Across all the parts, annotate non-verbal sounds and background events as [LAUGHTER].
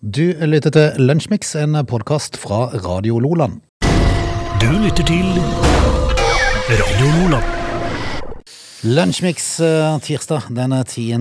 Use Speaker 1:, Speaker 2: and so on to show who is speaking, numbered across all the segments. Speaker 1: Du lytter til Lunsjmix, en podkast fra Radio Loland.
Speaker 2: Du lytter til Radio Nordland.
Speaker 1: Lunsjmix eh, tirsdag den 10.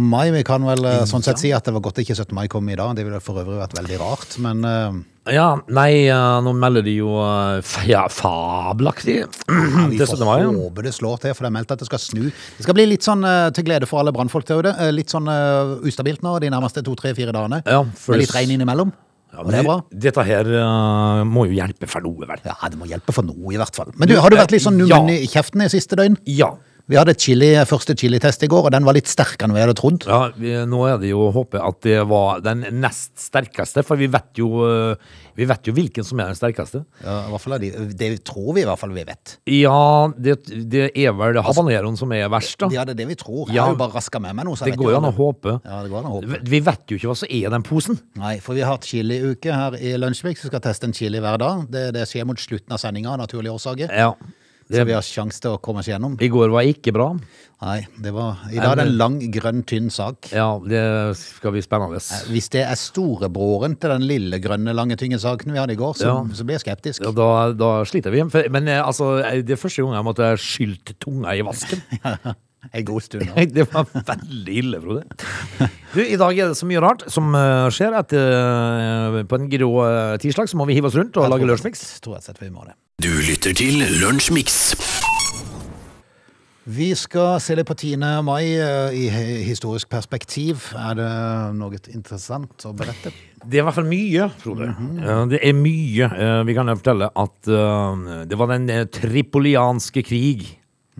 Speaker 1: mai. Vi kan vel eh, sånn sett si at det var godt ikke 17. mai kom i dag. Det ville for øvrig vært veldig rart, men eh,
Speaker 3: Ja, nei, eh, nå melder de jo eh, [LAUGHS] f- ja, fabelaktig [CLEARS THROAT]
Speaker 1: ja, vi
Speaker 3: til 17.
Speaker 1: får
Speaker 3: mai. ja.
Speaker 1: håpe det slår til, for det er meldt at det skal snu. Det skal bli litt sånn eh, til glede for alle brannfolk der ute. eh, Litt sånn eh, ustabilt nå de nærmeste to-tre-fire dagene.
Speaker 3: Ja, for-
Speaker 1: Med litt regn innimellom.
Speaker 3: Ja,
Speaker 1: og det er bra.
Speaker 3: Dette her eh, må jo hjelpe for noe, vel.
Speaker 1: Ja, det må hjelpe for noe, i hvert fall. Men du, har du vært litt sånn
Speaker 3: Ja.
Speaker 1: nummen i kjeften i siste døgn?
Speaker 3: Ja.
Speaker 1: Vi hadde et chili, eh, første chilitest i går, og den var litt sterkere enn vi hadde trodd.
Speaker 3: ja vi, nå er det jo å håpe at det var den nest sterkeste, for vi vet jo, eh, vi vet jo hvilken som er den sterkeste.
Speaker 1: Ja, i hvert fall er de, det tror vi i hvert fall vi vet.
Speaker 3: Ja, det, det er vel habaneroen som er verst, da.
Speaker 1: Altså, Ja, det er det vi tror. Jeg
Speaker 3: Ja.
Speaker 1: har jo bare raska med meg noe. så jeg
Speaker 3: Det
Speaker 1: vet
Speaker 3: går jo an å
Speaker 1: aldri.
Speaker 3: håpe.
Speaker 1: Ja, det går an å håpe.
Speaker 3: Vi vet jo ikke hva som er i den posen.
Speaker 1: Nei, for vi har hatt chiliuke her i Lunsjvik, så vi skal teste en chili hver dag. Det, det skjer mot slutten av sendinga, av naturlige årsaker.
Speaker 3: Ja.
Speaker 1: Så vi
Speaker 3: Det,
Speaker 1: har sjanse til å komme oss gjennom.
Speaker 3: I går var ikke bra.
Speaker 1: Nei, det var I dag er det en lang, grønn, tynn sak.
Speaker 3: Ja, det skal bli spennende.
Speaker 1: Hvis det er storebroren til den lille, grønne, lange, tynne saken vi hadde i går, så,
Speaker 3: Ja.
Speaker 1: så blir jeg skeptisk.
Speaker 3: Ja, da, da sliter vi. For- Men eh, altså, eh, det er første gang jeg måtte skylte tunga i vasken.
Speaker 1: En god
Speaker 3: [LAUGHS]
Speaker 1: stund. nå.
Speaker 3: Det var veldig ille, Frode. Du, I dag er det så mye rart som eh, skjer. At, eh, på en grå eh, tirsdag så må vi hive oss rundt og lage lunsjmiks.
Speaker 1: Tror jeg sett vi må det.
Speaker 2: Du lytter til Lunsjmix.
Speaker 1: Vi skal se litt på 10. mai eh, i he- historisk perspektiv. Er det noe interessant å
Speaker 3: [LAUGHS]
Speaker 1: berette?
Speaker 3: Det er i hvert fall mye, Frode. Eh, Det er mye. Eh, Vi kan jo fortelle at eh, det var den eh, tripolianske krig.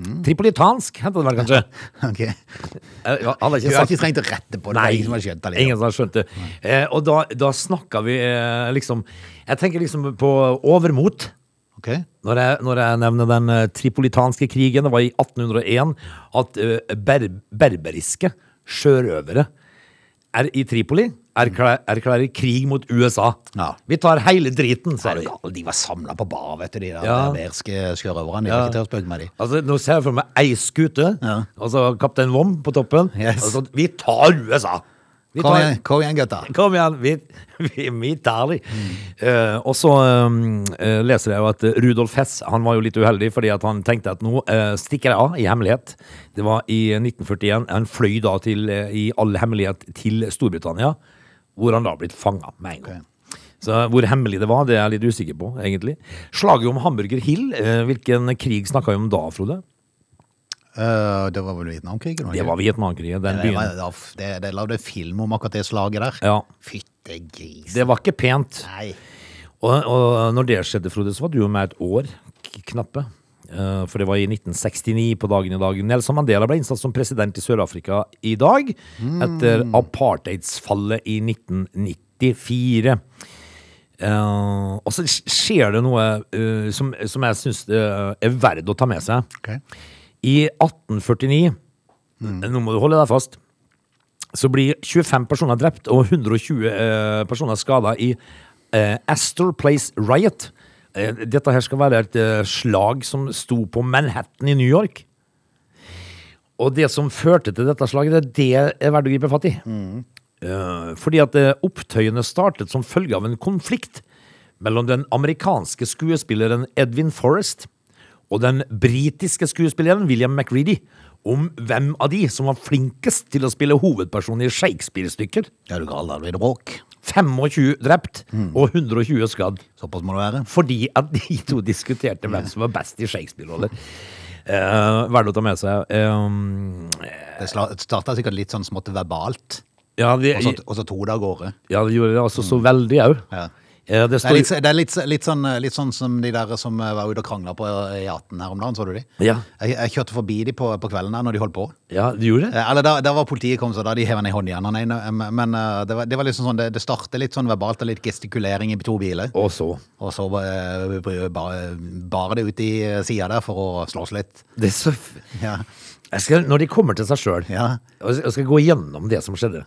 Speaker 3: Tripolitansk, heter det vel kanskje?
Speaker 1: Ok.
Speaker 3: Eh, ja,
Speaker 1: Du
Speaker 3: alle har ikke
Speaker 1: har
Speaker 3: sagt
Speaker 1: ikke trengt å rette på det. det. er Ingen som har skjønt det. liksom.
Speaker 3: ingen som har skjønt det. Eh, og da, da snakka vi eh, liksom Jeg tenker liksom på overmot.
Speaker 1: Ok.
Speaker 3: Når jeg, når jeg nevner den eh, tripolitanske krigen, det var i 1801 at eh, ber, berberiske sjørøvere er i Tripoli erklærer, erklærer krig mot USA.
Speaker 1: Ja.
Speaker 3: Vi tar hele driten, sa
Speaker 1: Er
Speaker 3: de.
Speaker 1: du gal? De var samla på bar, vet du, de der
Speaker 3: Ja.
Speaker 1: berberske sjørøverne. De var ikke til å spøke med, de.
Speaker 3: Altså, nå ser jeg for meg ei skute,
Speaker 1: Ja.
Speaker 3: og så kaptein Vom på toppen.
Speaker 1: Yes.
Speaker 3: Altså, vi tar USA! Vi
Speaker 1: Kom
Speaker 3: tar-
Speaker 1: igjen, kom igjen gutta.
Speaker 3: Kom igjen, vi, vi, vi tar dem. Eh, og så eh, eh, leser jeg jo at eh, Rudolf Hess han var jo litt uheldig, fordi at han tenkte at nå eh, stikker jeg av i hemmelighet. Det var i 1941. Han fløy da til, eh, i all hemmelighet til Storbritannia, hvor han da blitt fanga med en gang. Så Hvor hemmelig det var, det er jeg litt usikker på, egentlig. Slaget om Hamburger Hill, eh, hvilken krig snakka vi om da, Frode?
Speaker 1: Eh, det var vel Vietnamkrigen? var
Speaker 3: Det var Vietnamkrigen. Den
Speaker 1: det,
Speaker 3: byen.
Speaker 1: var- det var- det, det lagde film om akkurat det slaget der.
Speaker 3: Ja.
Speaker 1: Fytte gris.
Speaker 3: Det var ikke pent.
Speaker 1: Nei.
Speaker 3: Og, og når det skjedde, Frode, så var du jo med et år k- knappe. Eh, For det var i 1969 på dagen i dag. Nelson Mandela ble innsatt som president i Sør-Afrika i dag, etter apartheidsfallet i 1994. Eh, og så sk- skjer det noe eh, som, som jeg syns er verdt å ta med seg.
Speaker 1: Ok.
Speaker 3: I 1849, nå må du holde deg fast, så blir 25 personer drept og 120 eh, personer skada i eh, Astor Place Riot. Eh, dette her skal være et eh, slag som sto på Manhattan i New York. Og det som førte til dette slaget, det er det er verdt å gripe fatt i. Eh, fordi at eh, opptøyene startet som følge av en konflikt mellom den amerikanske skuespilleren Edwin Forrest og den britiske skuespilleren William McReady om hvem av de som var flinkest til å spille hovedpersonen i Shakespeare-stykker.
Speaker 1: Er du gal, da blir det bråk.
Speaker 3: 25 drept
Speaker 1: Mm.
Speaker 3: og 120 skadd
Speaker 1: Såpass må det være.
Speaker 3: fordi at de to diskuterte hvem som var best i Shakespeare-roller. Uh, verdt å ta med seg. Eh,
Speaker 1: Det starta sikkert litt sånn smått verbalt,
Speaker 3: ja, de,
Speaker 1: og så, og så tog det av gårde.
Speaker 3: ja, de gjorde det altså så veldig òg.
Speaker 1: Ja.
Speaker 3: det
Speaker 1: Det er,
Speaker 3: står
Speaker 1: litt, det er litt, litt, sånn, litt sånn som de der som var ute og krangla på E18 her om dagen, så du de?
Speaker 3: Ja.
Speaker 1: Jeg, jeg kjørte forbi de på, på kvelden her når de holdt på.
Speaker 3: Ja, de gjorde det?
Speaker 1: Eh, Eller da, da var politiet kom, så da de hev han i hånden igjen. Han ene, eh, Men eh, det var, det var liksom sånn, det, det startet litt sånn verbalt og litt gestikulering i to biler.
Speaker 3: Og så.
Speaker 1: Og så eh, bare, bare det ut i sida der for å slåss litt.
Speaker 3: Det er så f-
Speaker 1: Ja.
Speaker 3: jeg skal, når de kommer til seg sjøl,
Speaker 1: Ja. Mhm.
Speaker 3: og jeg skal gå gjennom det som skjedde,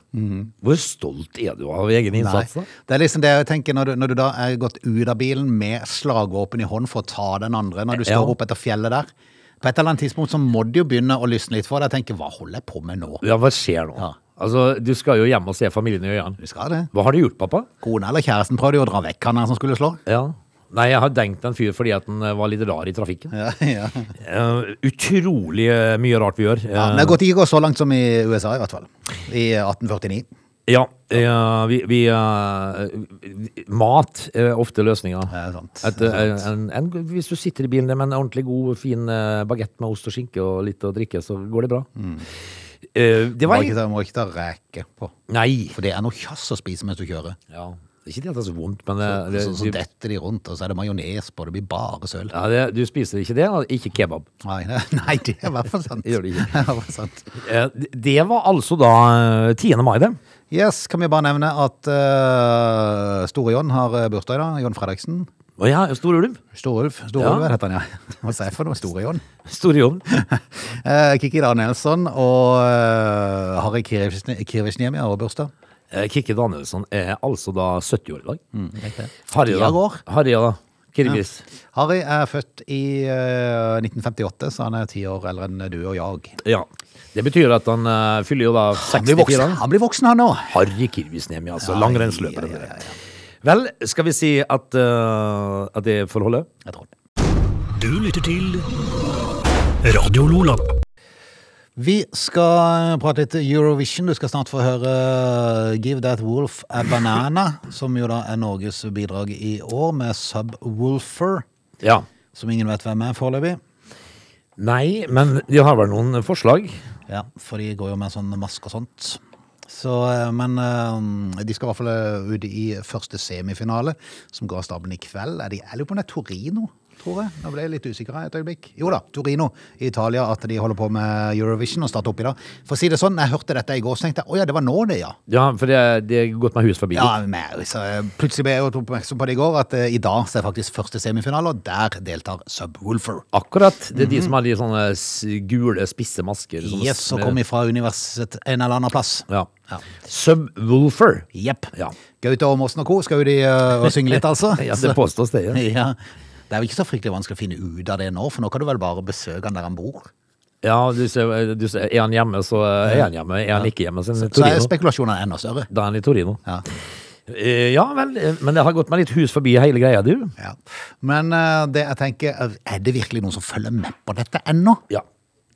Speaker 3: hvor stolt er du av egen
Speaker 1: Nei.
Speaker 3: innsats? da?
Speaker 1: Det er liksom det jeg tenker når du, når du da er gått ut av bilen med slagvåpen i hånd for å ta den andre, når du
Speaker 3: Ja.
Speaker 1: står opp etter fjellet der. På et eller annet tidspunkt så må du jo begynne å lysne litt for det. Jeg tenker, hva holder jeg på med nå?
Speaker 3: Ja, hva skjer nå?
Speaker 1: Ja.
Speaker 3: Altså, du skal jo hjem og se familien i øynene.
Speaker 1: Vi skal det.
Speaker 3: Hva har du gjort, pappa?
Speaker 1: Kona eller kjæresten prøvde jo å dra vekk han her som skulle slå.
Speaker 3: Ja. Nei, jeg har denkt en fyr fordi at han eh, var litt rar i trafikken. [LAUGHS]
Speaker 1: Ja, ja.
Speaker 3: Eh, utrolig eh, mye rart vi gjør. Eh,
Speaker 1: Ja, men det har gått ikke gått så langt som i USA, i hvert fall. I 1849.
Speaker 3: ja, eh, vi, vi eh, Mat er ofte løsninga.
Speaker 1: Ja, sant.
Speaker 3: Et, eh, en, en, hvis du sitter i bilen med en ordentlig god, fin eh, bagett med ost og skinke og litt å drikke, så går det bra. Eh,
Speaker 1: Må
Speaker 3: det var
Speaker 1: Mm. ikke ta, må ikke ta reke på.
Speaker 3: Nei.
Speaker 1: For det er noe kjass å spise mens du kjører.
Speaker 3: Ja. det er Ikke det at det er så vondt, men eh, det,
Speaker 1: Så, sånn så
Speaker 3: du,
Speaker 1: detter de rundt, og så er det majones på. Det blir bare søl.
Speaker 3: ja, det, du spiser ikke det, og ikke kebab.
Speaker 1: Nei, [LAUGHS] det- nei, det er i hvert fall sant.
Speaker 3: Det gjør
Speaker 1: [LAUGHS]
Speaker 3: det ikke.
Speaker 1: er i hvert fall sant.
Speaker 3: Eh, det- Det var altså da eh, 10. mai, det.
Speaker 1: Yes, kan vi bare nevne at eh, Store John har eh, bursdag i dag. John Fredriksen.
Speaker 3: Å ja, Stor ulv. [LAUGHS]
Speaker 1: Storulv. Storulv ja. heter han, ja. Hva sier jeg for noe? Store John.
Speaker 3: Store John.
Speaker 1: Eh, Kikki Danielsson og eh, Harry Kirvisjne- Kirvisjniemi har også bursdag.
Speaker 3: Eh, Kikki Danielsson er altså da 70 år i dag. Harry,
Speaker 1: Mm. Tida går.
Speaker 3: Harry, da. Kirgis.
Speaker 1: Harry er født i eh, 1958, så han er ti år eldre enn du og jeg.
Speaker 3: Ja. Det betyr at han eh, fyller jo da
Speaker 1: Han blir
Speaker 3: 64
Speaker 1: voksen,
Speaker 3: år.
Speaker 1: han, blir voksen, han nå.
Speaker 3: Harry Kirvisnemi, altså.
Speaker 1: Ja,
Speaker 3: Langrennsløper.
Speaker 1: ja, ja,
Speaker 3: dette her. Vel, skal vi si at, eh, at det får holde?
Speaker 1: Jeg tror.
Speaker 2: Du lytter til Radio Lola.
Speaker 1: Vi skal eh, prate litt Eurovision. Du skal snart få høre eh, Give That Wolf a Banana, som jo da er Norges bidrag i år, med Subwoolfer,
Speaker 3: Ja.
Speaker 1: som ingen vet hvem er foreløpig.
Speaker 3: Nei, men de har vel noen forslag?
Speaker 1: Ja, for de går jo med sånn maske og sånt. Så, eh, men eh, de skal i hvert fall eh, ut i første semifinale, som går av stabelen i kveld. Er de, jeg lurer på om det er Torino, tror jeg. Nå ble jeg litt usikker her et øyeblikk. Jo da, Torino i Italia, at de holder på med Eurovision og starter opp i dag. For å si det sånn, jeg hørte dette i går, så tenkte jeg å ja, det var nå det, ja.
Speaker 3: Ja, for det det har gått meg hus forbi.
Speaker 1: Ja, men, så eh, plutselig ble jeg jo oppmerksom på det i går, at eh, i dag så er faktisk første semifinale, og der deltar Subwoolfer.
Speaker 3: Akkurat. Det er de som har de sånne s- gule, spisse masker. som-
Speaker 1: Yes, og kom ifra universitet en eller annen plass.
Speaker 3: Ja.
Speaker 1: Ja.
Speaker 3: Subwoolfer.
Speaker 1: Jepp.
Speaker 3: Ja.
Speaker 1: Gaute Ormåsen og co. skal jo de eh, og synge litt, altså.
Speaker 3: [LAUGHS] Ja, det påstås det, ja.
Speaker 1: Så- [LAUGHS] ja. Det er vel ikke så fryktelig vanskelig å finne ut av det nå, for nå kan du vel bare besøke han der han bor.
Speaker 3: Ja, du ser, du ser, er han hjemme, så er han hjemme. Er han ikke hjemme, så er han i
Speaker 1: Så er
Speaker 3: Torino.
Speaker 1: spekulasjonene enda større.
Speaker 3: Da er han i Torino.
Speaker 1: Ja.
Speaker 3: Eh, Ja vel, eh, men det har gått meg litt hus forbi hele greia, du.
Speaker 1: Ja. Men eh, det jeg tenker, er- er det virkelig noen som følger med på dette ennå?
Speaker 3: Ja,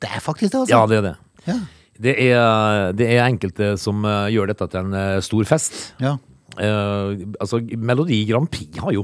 Speaker 1: Det er faktisk det, altså.
Speaker 3: ja det er det.
Speaker 1: Ja.
Speaker 3: Det er, det er enkelte som eh, gjør dette til en eh, stor fest.
Speaker 1: Ja.
Speaker 3: Eh, altså, Melodi Grand Prix har jo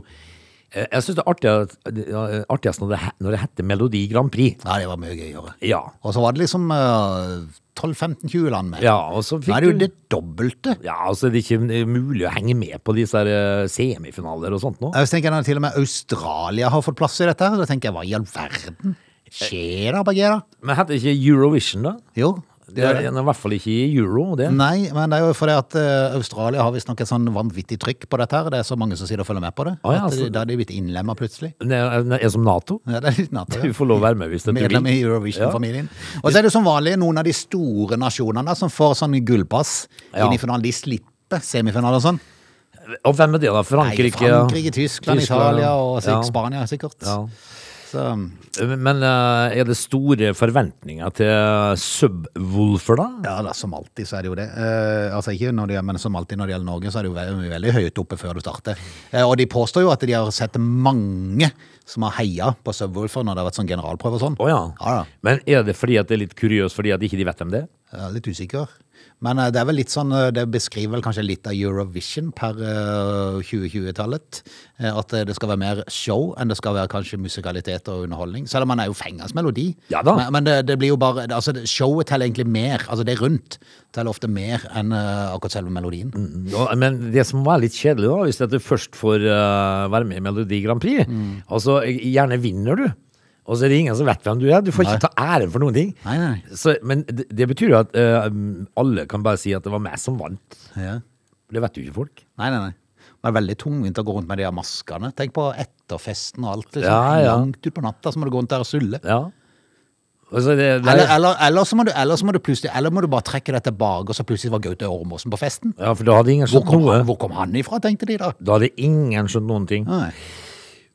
Speaker 3: eh, Jeg syns det er artig at- det er artigst når det, he- når det heter Melodi Grand Prix.
Speaker 1: ja, det var mye gøyere.
Speaker 3: Ja.
Speaker 1: Og så var det liksom eh, 12-15-20 land med.
Speaker 3: ja og så
Speaker 1: Nå
Speaker 3: fikk
Speaker 1: er det jo
Speaker 3: du-
Speaker 1: det dobbelte.
Speaker 3: Ja, altså det er ikke mulig å henge med på disse her, eh, semifinaler og sånt nå.
Speaker 1: Jeg tenker at til og med Australia har fått plass i dette. her, Da tenker jeg, hva i all verden skjer da, Bagheera?
Speaker 3: Men heter det ikke Eurovision, da?
Speaker 1: Jo,
Speaker 3: Det er, den er i hvert fall ikke i euro, det.
Speaker 1: Nei, men det er jo fordi at eh, Australia har visstnok et sånn vanvittig trykk på dette her. Det er så mange som sier og følger med på det.
Speaker 3: Å, ja,
Speaker 1: at de-
Speaker 3: altså-
Speaker 1: Da er de blitt innlemma plutselig. [LAUGHS]
Speaker 3: Det er, det er som Nato.
Speaker 1: Ja, det er litt natt,
Speaker 3: Du får lov å være med hvis det er du
Speaker 1: Medlem i
Speaker 3: vil.
Speaker 1: Eurovision-familien. Og så er det som vanlig noen av de store nasjonene som får sånn gullpass
Speaker 3: Ja.
Speaker 1: inn i finalen. De slipper semifinaler og sånn.
Speaker 3: Og hvem er det, da?
Speaker 1: Nei,
Speaker 3: Frankrike?
Speaker 1: Frankrike, Tyskland, Italia og
Speaker 3: ja.
Speaker 1: sik- Spania, sikkert.
Speaker 3: Ja.
Speaker 1: Så,
Speaker 3: Men eh, er det store forventninger til Subwoolfer, da?
Speaker 1: ja da, som alltid så er det jo det. Eh, altså ikke når det, men som alltid når det gjelder Norge, så er det jo veldig, veldig høyt oppe før du starter. Eh, og de påstår jo at de har sett mange som har heia på Subwoolfer når det har vært sånn generalprøve og sånn.
Speaker 3: Å ja.
Speaker 1: Ja da.
Speaker 3: Men er det fordi at det er litt kuriøst fordi at ikke de vet hvem det er?
Speaker 1: Jeg er litt usikker. Men eh, det er vel litt sånn, eh, det beskriver vel kanskje litt av Eurovision per eh, 2020-tallet. eh, At eh, det skal være mer show enn det skal være kanskje musikalitet og underholdning. Selv om man er jo fengende melodi.
Speaker 3: Ja da.
Speaker 1: Men, men det, det blir jo bare, altså det- showet teller egentlig mer, altså det rundt teller ofte mer enn eh, akkurat selve melodien.
Speaker 3: Ja, Men det som var litt kjedelig da, hvis det at du først får eh, være med i Melodi Grand Prix,
Speaker 1: Mm.
Speaker 3: og så gjerne vinner du, og så er det ingen som vet hvem du er, du får
Speaker 1: Nei.
Speaker 3: ikke ta æren for noen ting.
Speaker 1: Nei, nei.
Speaker 3: Så, men det, det betyr jo at eh, alle kan bare si at det var meg som vant.
Speaker 1: Ja.
Speaker 3: Det vet jo ikke folk.
Speaker 1: Nei, nei, nei. Det er veldig tungvint å gå rundt med de her maskene. Tenk på etterfesten og alt. Liksom.
Speaker 3: Ja, ja.
Speaker 1: Langt ut på natta så må du gå rundt der og sulle.
Speaker 3: Ja. Altså, det, det,
Speaker 1: Eller, eh, eller, eller, så må du, eller så må du plutselig Eller må du bare trekke deg tilbake, og så plutselig var Gaute Ormåsen på festen.
Speaker 3: ja, for da hadde ingen
Speaker 1: Hvor
Speaker 3: skjønt
Speaker 1: kom,
Speaker 3: noe.
Speaker 1: han, hvor kom han ifra, tenkte de da?
Speaker 3: Da hadde ingen skjønt noen ting.
Speaker 1: Nei.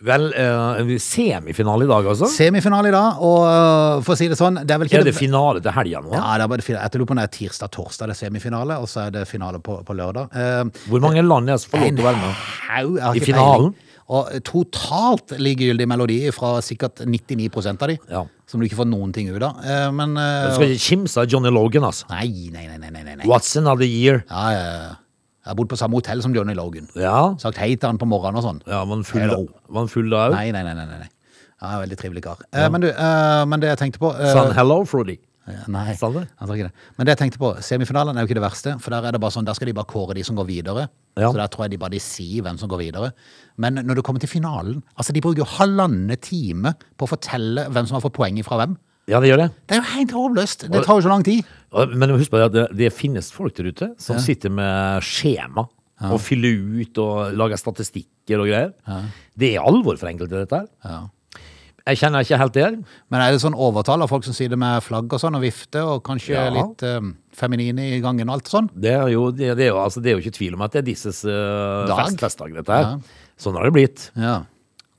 Speaker 3: Vel, eh, semifinale i dag, altså?
Speaker 1: Semifinale i dag, og øh, for å si det sånn det er vel ikke
Speaker 3: er det finale til helga nå?
Speaker 1: Ja, det er bare finale. Jeg lurer på om det er tirsdag-torsdag det er semifinale, og så er det finale på, på lørdag. Eh,
Speaker 3: Hvor mange land er det som får lov til å være med?
Speaker 1: haug, jeg har
Speaker 3: I
Speaker 1: ikke
Speaker 3: finalen?
Speaker 1: peiling. Og totalt likegyldig melodi fra sikkert 99 av de,
Speaker 3: Ja.
Speaker 1: som du ikke får noen ting ut av. Eh, men eh,
Speaker 3: Du skal ikke kimse av Johnny Logan, altså.
Speaker 1: Nei, nei, nei, nei, nei, nei. nei.
Speaker 3: What's another year?
Speaker 1: Ja, ja, ja. Jeg har bodd på samme hotell som Johnny Logan.
Speaker 3: Ja,
Speaker 1: Sagt hei til han på morgenen og sånn.
Speaker 3: ja var han full,
Speaker 1: Hello.
Speaker 3: var han full da òg?
Speaker 1: Nei, nei, nei, nei, nei. nei. Ja, veldig trivelig kar. Eh, men du, eh, men det jeg tenkte på eh,
Speaker 3: Sa han hello, Frodi?
Speaker 1: Eh, Nei,
Speaker 3: Sa han det?
Speaker 1: han sa ikke det. Men det jeg tenkte på, semifinalen er jo ikke det verste, for der er det bare sånn, der skal de bare kåre de som går videre.
Speaker 3: Ja.
Speaker 1: Så der tror jeg de bare de sier hvem som går videre. Men når du kommer til finalen, altså de bruker jo halvanne time på å fortelle hvem som har fått poeng fra hvem.
Speaker 3: Ja, det gjør det.
Speaker 1: Det er jo helt håpløst. Det tar jo så lang tid.
Speaker 3: Og- Men husk på det at det, det finnes folk der ute som sitter med skjema og fyller ut og lager statistikker og greier. Det er alvor for enkelte, dette her. Jeg kjenner ikke helt det. her.
Speaker 1: Men er det sånn overtall av folk som sier det med flagg og sånn, og vifte, og kanskje
Speaker 3: Ja.
Speaker 1: litt eh, feminine i gangen og alt sånn?
Speaker 3: Det er, jo, det, det, er jo, altså, det er jo ikke tvil om at det er disses eh,
Speaker 1: Dag.
Speaker 3: fest, festdag, dette her. Sånn har det blitt.
Speaker 1: Ja.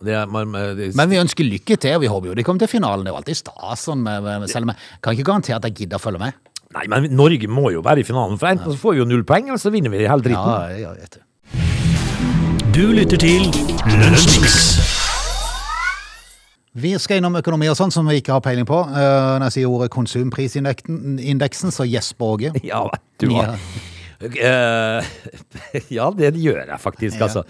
Speaker 3: Det er, man, man- det,
Speaker 1: Men vi ønsker lykke til, og vi håper jo de kommer til finalen. Det er jo alltid stas, sånn, med, med, selv om jeg kan ikke garantere at jeg gidder å følge med.
Speaker 3: nei, men Norge må jo være i finalen, for enten så får vi jo null poeng, eller så vinner vi
Speaker 1: Ja,
Speaker 3: hele dritten.
Speaker 1: ja, vet du.
Speaker 2: Du lytter til Lunsjmix.
Speaker 1: Vi skal innom økonomi og sånn som vi ikke har peiling på. Eh, når jeg sier ordet konsumprisindeksen, så gjesper Åge.
Speaker 3: [LAUGHS] Ja, vet du hva.
Speaker 1: Ja.
Speaker 3: Eh, [LAUGHS] ja, det gjør jeg faktisk,
Speaker 1: Ja.
Speaker 3: altså.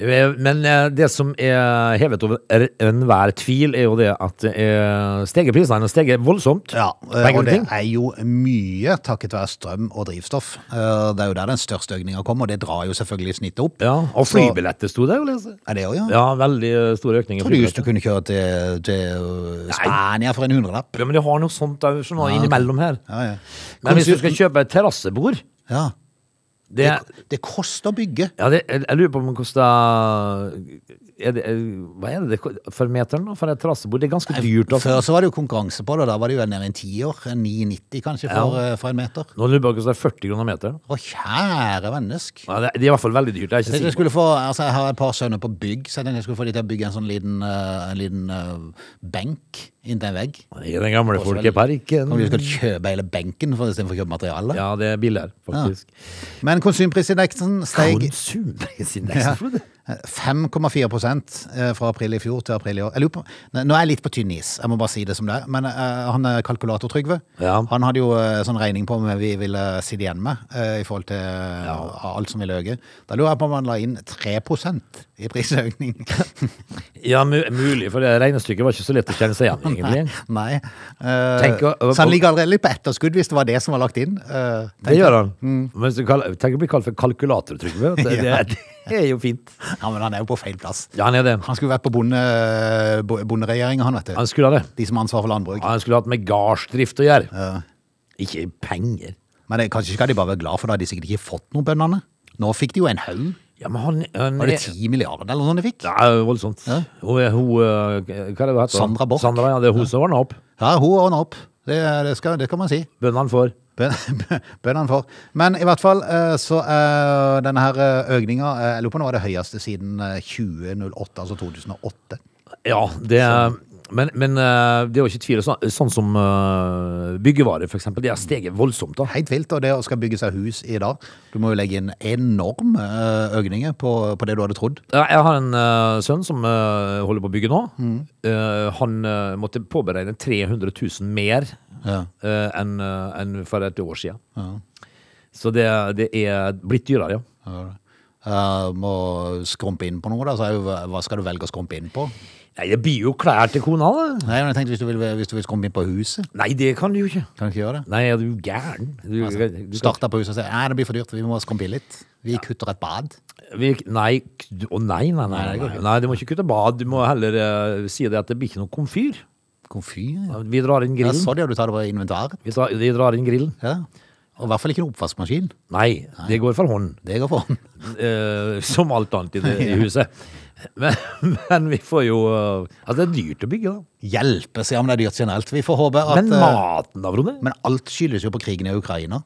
Speaker 3: Eh, Men eh, det som er hevet over er- enhver tvil, er jo det at eh, stegeprisene steger voldsomt.
Speaker 1: Ja,
Speaker 3: på
Speaker 1: eh, og
Speaker 3: enkelte
Speaker 1: det
Speaker 3: ting.
Speaker 1: er jo mye takket være strøm og drivstoff. Eh, Det er jo der den største økninga kommer, og det drar jo selvfølgelig snittet opp.
Speaker 3: Ja, og
Speaker 1: Så-
Speaker 3: flybilletter sto det å lese.
Speaker 1: Er det jo, ja?
Speaker 3: Ja, veldig eh, stor økning i
Speaker 1: Tror du just du
Speaker 3: flybilletter.
Speaker 1: kunne kjøre til, til eh, Spania for en hundrelapp?
Speaker 3: Ja, men de har noe sånt der, sånn innimellom her.
Speaker 1: Ja, ja.
Speaker 3: Men hvis du skal
Speaker 1: Konsum-
Speaker 3: kjøpe et terrassebord
Speaker 1: ja.
Speaker 3: det,
Speaker 1: Det, det koster å bygge.
Speaker 3: ja, det, jeg jeg lurer på om det koster er det, er, Hva er det det ko- for meteren da, for et terrassebord? Det er ganske dyrt. Altså.
Speaker 1: Før så var det jo konkurranse på det, og da var det jo nede i en tiår. en 9,90 kanskje for, eh, for en meter.
Speaker 3: Nå lurer jeg på hvordan det er 40 kroner meteren.
Speaker 1: Å, kjære vennesk.
Speaker 3: Ja, det, det er i hvert fall veldig dyrt. Det er
Speaker 1: Jeg,
Speaker 3: ikke
Speaker 1: tenkte jeg,
Speaker 3: sikkert.
Speaker 1: skulle få, altså jeg har et par sønner på bygg, så jeg tenkte jeg skulle få de til å bygge en sånn liten, eh, en liten eh, benk inntil en vegg.
Speaker 3: I den gamle
Speaker 1: Også veldig-
Speaker 3: folkeparken.
Speaker 1: Kan vi skal kjøpe hele benken for, istedenfor å kjøpe materiale?
Speaker 3: Ja, det er billigere, faktisk.
Speaker 1: Men konsumprisindeksen steg Ja.
Speaker 3: Konsumprisindex, Frode.
Speaker 1: 5,4 eh, fra april i fjor til april i år. Jeg lurer på, Nei, nå er jeg litt på tynn is, jeg må bare si det som det er. Men eh, han eh, kalkulator Trygve,
Speaker 3: Ja.
Speaker 1: han hadde jo eh, sånn regning på hva vi ville sitte igjen med eh, i forhold til eh, alt som ville øke. Da lurer jeg på om han la inn 3 i prisøkning.
Speaker 3: Ja, mu mulig, for det regnestykket var ikke så lett å kjenne seg [LAUGHS] igjen, [LAUGHS] egentlig.
Speaker 1: [LAUGHS] Nei. Eh,
Speaker 3: Tenk å-
Speaker 1: så han ligger allerede litt på etterskudd hvis det var det som var lagt inn. Eh,
Speaker 3: Det gjør han. Mm. Men hvis du kaller- Tenk å bli kalt for kalkulator, Trygve. [LAUGHS] Det, det,
Speaker 1: Ja.
Speaker 3: er- det er jo fint.
Speaker 1: ja, men han er jo på feil plass.
Speaker 3: Ja, han er det.
Speaker 1: Han skulle vært på bonde, eh, bo- bonderegjeringen, han, vet du.
Speaker 3: Han skulle ha det.
Speaker 1: De som har ansvar for landbruk.
Speaker 3: Han skulle hatt med gardsdrift å gjøre. Ikke penger.
Speaker 1: Men det, kanskje skal de bare være glad for det, har de sikkert ikke fått noen bøndene. Nå fikk de jo en haug.
Speaker 3: Ja, men han, han
Speaker 1: Var det sånn-
Speaker 3: er-
Speaker 1: 10 milliarder eller noe sånt de fikk?
Speaker 3: Ja, voldsomt. Hun, er- hun, eh, hva er det hun heter?
Speaker 1: Sandra Borch.
Speaker 3: Sandra, ja, det er hun som ordna opp.
Speaker 1: Ja, hun ordna opp. Det, det, skal, det kan man si.
Speaker 3: Bøndene får.
Speaker 1: Bøn- Bøndene får. Men i hvert fall eh, så er denne her eh, økninga eh, Jeg lurer på om det var det høyeste siden eh, 2008, altså 2008.
Speaker 3: Ja, det
Speaker 1: Sånn.
Speaker 3: Men, men eh, det er jo ikke tvil. Sånn, sånn som eh, byggevarer, for eksempel. De har steget voldsomt. da.
Speaker 1: Helt vilt, og det å skal bygge seg hus i dag, du må jo legge inn enorme eh, økninger på, på det du hadde trodd.
Speaker 3: Ja, Jeg har en eh, sønn som eh, holder på å bygge nå.
Speaker 1: Mm.
Speaker 3: Eh, han eh, måtte påberegne 300 000 mer
Speaker 1: Ja.
Speaker 3: eh, enn eh, enn for et år siden. Så det, det er blitt dyrere, ja.
Speaker 1: Eh, må skrumpe inn på noe, da. Så er jo, hva skal du velge å skrumpe inn på?
Speaker 3: Nei, det blir jo klær til kona, da.
Speaker 1: Nei, men jeg tenkte hvis du vil, hvis du vil skrumpe inn på huset,
Speaker 3: Nei, det kan du jo ikke.
Speaker 1: kan du ikke gjøre det?
Speaker 3: Nei, er du gæren? Du,
Speaker 1: Altså,
Speaker 3: du kan-
Speaker 1: Starte på huset og si nei, det blir for dyrt, vi må skrumpe inn litt. Vi kutter et bad.
Speaker 3: Vi, nei, k- å nei, nei, nei,
Speaker 1: Nei, det går
Speaker 3: nei,
Speaker 1: ikke.
Speaker 3: nei. Du må ikke kutte bad. Du må heller eh, si det at det blir ikke noe komfyr.
Speaker 1: Komfyr. ja.
Speaker 3: Vi drar inn
Speaker 1: Ja,
Speaker 3: grillen.
Speaker 1: så det, og du tar det på inventaret.
Speaker 3: Vi drar, vi drar inn grillen.
Speaker 1: Ja. Og i hvert fall ikke noen oppvaskmaskin.
Speaker 3: Nei, det går for hånd.
Speaker 1: Det går for hånd.
Speaker 3: Eh, som alt annet i, det,
Speaker 1: [LAUGHS]
Speaker 3: i huset. Men, [LAUGHS] men vi får jo eh, Altså, det er dyrt å bygge, da.
Speaker 1: Hjelpes, ja, men det er dyrt generelt. Vi får håpe at
Speaker 3: Men
Speaker 1: eh,
Speaker 3: maten, da, Frode?
Speaker 1: Men alt skyldes jo på krigen i Ukraina.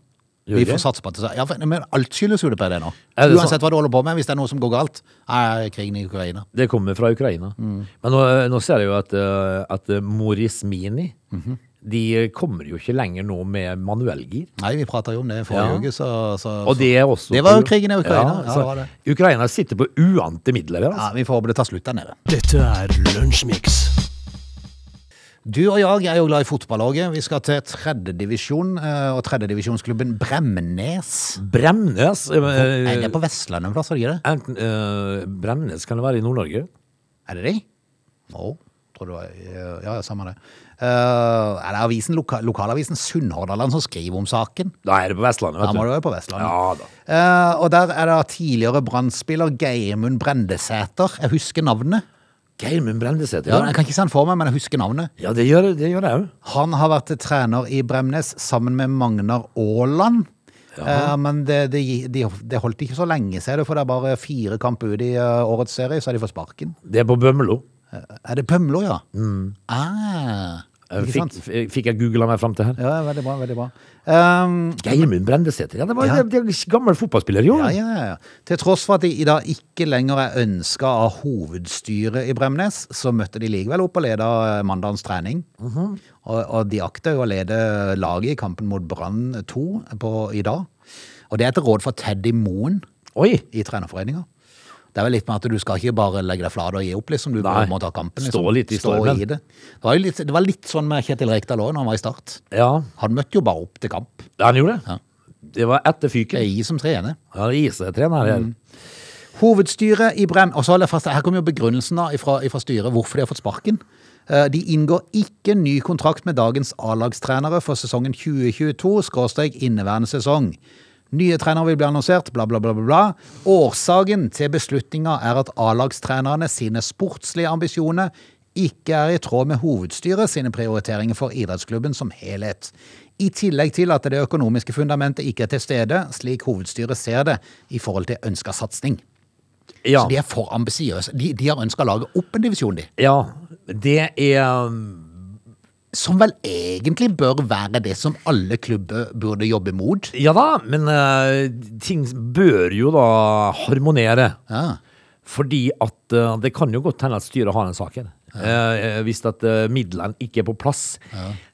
Speaker 3: Gjør
Speaker 1: Vi
Speaker 3: det?
Speaker 1: får satse på at det ja, for- Men alt skyldes jo det på det nå.
Speaker 3: Er det
Speaker 1: Uansett hva du holder på med, hvis det er noe som går galt, er krigen i Ukraina.
Speaker 3: Det kommer fra Ukraina.
Speaker 1: Mm.
Speaker 3: Men nå, nå ser jeg jo at, eh, at eh, Morris Mini
Speaker 1: Mhm.
Speaker 3: De kommer jo ikke lenger nå med manuellgir.
Speaker 1: Nei, vi prata jo om det
Speaker 3: Ja.
Speaker 1: forrige uke, så, så
Speaker 3: Og det er også
Speaker 1: Altså, Det var jo krigen i Ukraina. Ja,
Speaker 3: så
Speaker 1: det var det.
Speaker 3: Ukraina sitter på uante midler her. Altså.
Speaker 1: ja, Vi får håpe det tar slutt der nede.
Speaker 2: Dette er Lunsjmix.
Speaker 1: Du og jeg er jo glad i fotballoget. Vi skal til tredjedivisjon, og tredjedivisjonsklubben Bremnes.
Speaker 3: Bremnes eh,
Speaker 1: Nei, det er på Vestlandet en plass, er det ikke det?
Speaker 3: enten, eh, Bremnes kan det være i Nord-Norge?
Speaker 1: Er det de? Å, tror det var Ja, ja, samme det. Eh, er det avisen, loka, lokalavisen Sunnhordland som skriver om saken?
Speaker 3: Da er det på Vestlandet, vet
Speaker 1: Da må
Speaker 3: du.
Speaker 1: det være på Vestlandet.
Speaker 3: Ja da.
Speaker 1: Eh, og der er det tidligere brannspiller Geirmund Brendesæter. Jeg husker navnet.
Speaker 3: Geirmund Brendesæter.
Speaker 1: Ja,
Speaker 3: Ja,
Speaker 1: jeg kan ikke se han for meg, men jeg husker navnet.
Speaker 3: ja det, gjør, det gjør jeg òg.
Speaker 1: Han har vært trener i Bremnes sammen med Magnar Aaland. Eh, men det, det, gi- de, det holdt ikke så lenge, ser du, for det er bare fire kamper ut i eh, årets serie, så er de for sparken.
Speaker 3: Det er på Bømlo.
Speaker 1: Eh, Er det Bømlo, ja? Ah,
Speaker 3: Eh,
Speaker 1: ikke
Speaker 3: Fikk,
Speaker 1: sant?
Speaker 3: f- fikk jeg googla meg fram til her?
Speaker 1: Ja, veldig bra, veldig bra. Ehm,
Speaker 3: Geirmund Brendesæter. Ja, det var
Speaker 1: Ja.
Speaker 3: det- det er en gammel fotballspiller, jo.
Speaker 1: ja, ja, ja, ja. Til tross for at de i dag ikke lenger er ønska av hovedstyret i Bremnes, så møtte de likevel opp og leda eh, mandagens trening.
Speaker 3: Mhm.
Speaker 1: og, og de akter jo å lede laget i kampen mot Brann 2 på, i dag. Og det er etter råd fra Teddy Moen
Speaker 3: Oi!
Speaker 1: i trenerforeninga. Det er vel litt med at du skal ikke bare legge deg flat og gi opp, liksom. Du
Speaker 3: Nei.
Speaker 1: må ta kampen. Liksom.
Speaker 3: Stå litt i stormen.
Speaker 1: det. Det var, jo litt, det var litt sånn med Kjetil Rekdal òg, når han var i Start.
Speaker 3: Ja,
Speaker 1: Han møtte jo bare opp til kamp.
Speaker 3: han gjorde det.
Speaker 1: Ja.
Speaker 3: Det var etter
Speaker 1: Det er
Speaker 3: fyken.
Speaker 1: i som trener.
Speaker 3: Han er IC-trener her.
Speaker 1: Mm. Hovedstyret i Brem... Og så holder jeg fast, her kommer jo begrunnelsen da fra, styret hvorfor de har fått sparken. Eh, De inngår ikke ny kontrakt med dagens A-lagstrenere for sesongen 2022-inneværende sesong. Nye trenere vil bli annonsert, bla, bla, bla. bla, bla. Årsaken til beslutninga er at A-lagstrenerne sine sportslige ambisjoner ikke er i tråd med hovedstyret sine prioriteringer for idrettsklubben som helhet. I tillegg til at det økonomiske fundamentet ikke er til stede, slik hovedstyret ser det, i forhold til ønska satsing.
Speaker 3: Ja.
Speaker 1: Så de er for ambisiøse. De, de har ønska å lage opp en divisjon, de.
Speaker 3: ja. Det er um,
Speaker 1: Som vel egentlig bør være det som alle klubber burde jobbe mot.
Speaker 3: Ja da, men eh, ting bør jo da harmonere.
Speaker 1: Ja.
Speaker 3: Fordi at eh, det kan jo godt hende at styret har en sak her. Eh, eh, hvis at eh, midlene ikke er på plass,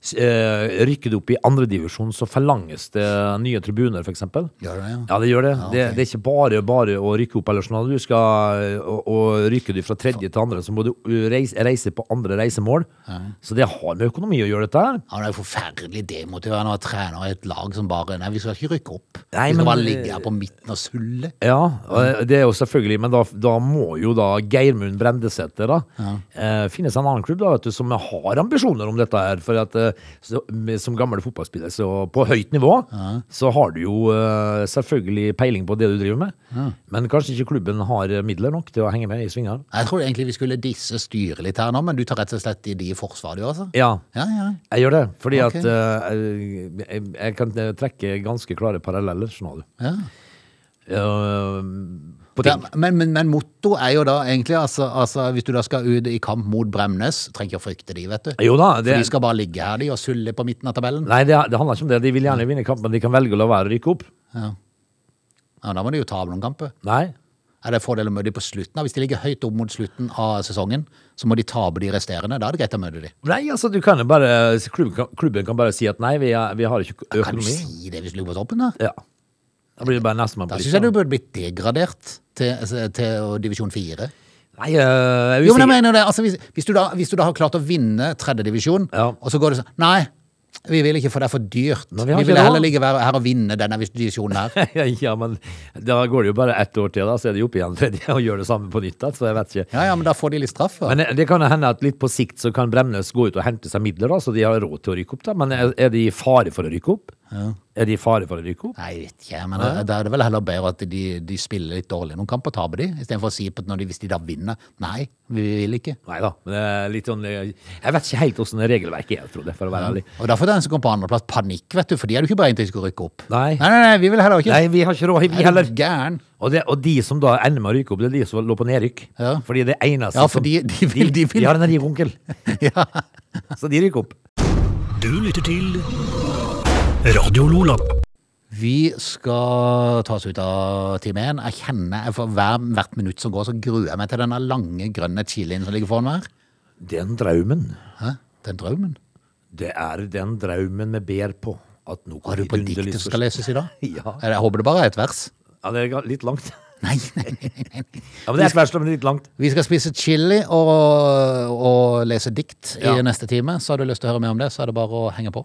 Speaker 3: S- eh, rykker det opp i andredivisjon, så forlanges det nye tribuner, f.eks.
Speaker 1: Gjør det det, ja?
Speaker 3: Ja, det gjør det.
Speaker 1: Ja,
Speaker 3: det.
Speaker 1: ok.
Speaker 3: Det er ikke bare bare å rykke opp. Eller sånn. Du skal, eh, og, og rykker du fra tredje til andre, så må du eh, reise, reise på andre reisemål. Så det har med økonomi å gjøre, dette her.
Speaker 1: Ja, det er jo forferdelig demotiverende å være trener i et lag som bare Nei, vi skal ikke rykke opp.
Speaker 3: Nei,
Speaker 1: vi skal
Speaker 3: men- eh,
Speaker 1: bare ligge her på midten og sulle.
Speaker 3: Ja, og eh, det er jo selvfølgelig, men da, da må jo da Geirmund Brendesæter da, eh, finne seg en annen klubb da, vet du, som har ambisjoner om dette her, for at eh, så, med, som gammel fotballspiller, så på høyt nivå, så har du jo eh, selvfølgelig peiling på det du driver med, men kanskje ikke klubben har midler nok til å henge med i svingene.
Speaker 1: Jeg tror egentlig vi skulle disse styret litt her nå, men du tar rett og slett i de i forsvar, du, altså?
Speaker 3: Ja,
Speaker 1: Ja, ja.
Speaker 3: jeg gjør det, fordi
Speaker 1: Ok.
Speaker 3: at eh, jeg, jeg kan eh, trekke ganske klare paralleller, skjønner du.
Speaker 1: ja.
Speaker 3: Eh, på
Speaker 1: Ja,
Speaker 3: ting.
Speaker 1: men, men, men motto er jo da egentlig altså, altså Hvis du da skal ut i kamp mot Bremnes, trenger ikke å frykte de, vet du.
Speaker 3: Jo da, det,
Speaker 1: For de skal bare ligge her, de, og sulle på midten av tabellen.
Speaker 3: Nei, det, det handler ikke om det. De vil gjerne vinne kampen, men de kan velge å la være å rykke opp.
Speaker 1: Ja. ja, Da må de jo ta av noen kamper.
Speaker 3: Nei.
Speaker 1: Er det fordel å møte de på slutten? av? Hvis de ligger høyt opp mot slutten av sesongen, så må de tape de resterende. Da er det greit å møte de.
Speaker 3: Nei, altså, du kan jo bare Klubben kan, klubben kan bare si at nei, vi, er, vi har ikke
Speaker 1: Kan du
Speaker 3: økonomi.
Speaker 1: si det hvis du ligger på toppen, da?
Speaker 3: Ja. Da blir sånn. det bare nestemann på
Speaker 1: Da syns jeg du
Speaker 3: lista.
Speaker 1: burde blitt degradert til, til divisjon fire.
Speaker 3: Nei, øh, jeg er
Speaker 1: Jo, men jeg
Speaker 3: usikker.
Speaker 1: mener det. Altså, hvis, hvis, du da, hvis du da har klart å vinne tredjedivisjon,
Speaker 3: Ja.
Speaker 1: og så går det sånn Nei, vi vil ikke, for det er for dyrt.
Speaker 3: Nei, vi
Speaker 1: vi
Speaker 3: har ikke
Speaker 1: vil
Speaker 3: råd.
Speaker 1: heller ligge her- her og vinne denne divisjonen her.
Speaker 3: [LAUGHS] ja, men da går det jo bare ett år til, da, så er de oppe igjen [LAUGHS] tredje og gjør det samme på nytt. Da, så jeg vet ikke.
Speaker 1: Ja, ja, men da får de litt straff. da.
Speaker 3: Men eh, det kan hende at litt på sikt så kan Bremnes gå ut og hente seg midler, da, så de har råd til å rykke opp. da. Men er, er de i fare for å rykke opp? Er de i fare for å rykke opp?
Speaker 1: Nei, jeg vet ikke, men da- da er det vel heller bedre at de, de spiller litt dårlig noen kamper og taper de, istedenfor å si på at når de, hvis de da vinner Nei, vi vil ikke.
Speaker 3: Nei da. Men det er litt sånn Jeg jeg vet ikke helt åssen regelverket er, Frode, for å være ærlig.
Speaker 1: Og derfor er det en som kom på andreplass panikk, vet du, for de hadde jo ikke beregnet at de skulle rykke opp.
Speaker 3: Nei.
Speaker 1: Nei, nei, nei, vi vil heller ikke.
Speaker 3: Nei, vi har ikke råd, vi
Speaker 1: Er
Speaker 3: heller.
Speaker 1: du gæren? [LAUGHS]
Speaker 3: Og, det, og de som da ender med å ryke opp, det er de som lå på nedrykk.
Speaker 1: Ja.
Speaker 3: Fordi det eneste
Speaker 1: Ja, for de- de vil- de vil-
Speaker 3: har en rik onkel,
Speaker 1: Ja.
Speaker 3: så de rykker opp.
Speaker 2: Du lytter til Radio Lola.
Speaker 1: Vi skal ta oss ut av time én. Jeg kjenner jeg for hver, hvert minutt som går, så gruer jeg meg til denne lange, grønne chilien som ligger foran meg her.
Speaker 3: Den drømmen,
Speaker 1: Hæ? Den drømmen?
Speaker 3: det er den drømmen vi ber på. At noe
Speaker 1: Har du på dikt som skal leses i dag?
Speaker 3: [LAUGHS] Ja.
Speaker 1: Eller, Jeg håper det bare er et vers.
Speaker 3: Ja, det er litt langt.
Speaker 1: Nei, nei, nei, nei, nei.
Speaker 3: Ja, men det er svært, men det er litt langt.
Speaker 1: Vi skal spise chili og, og lese dikt i
Speaker 3: Ja.
Speaker 1: neste time. Så har du lyst til å høre mer om det, så er det bare å henge på.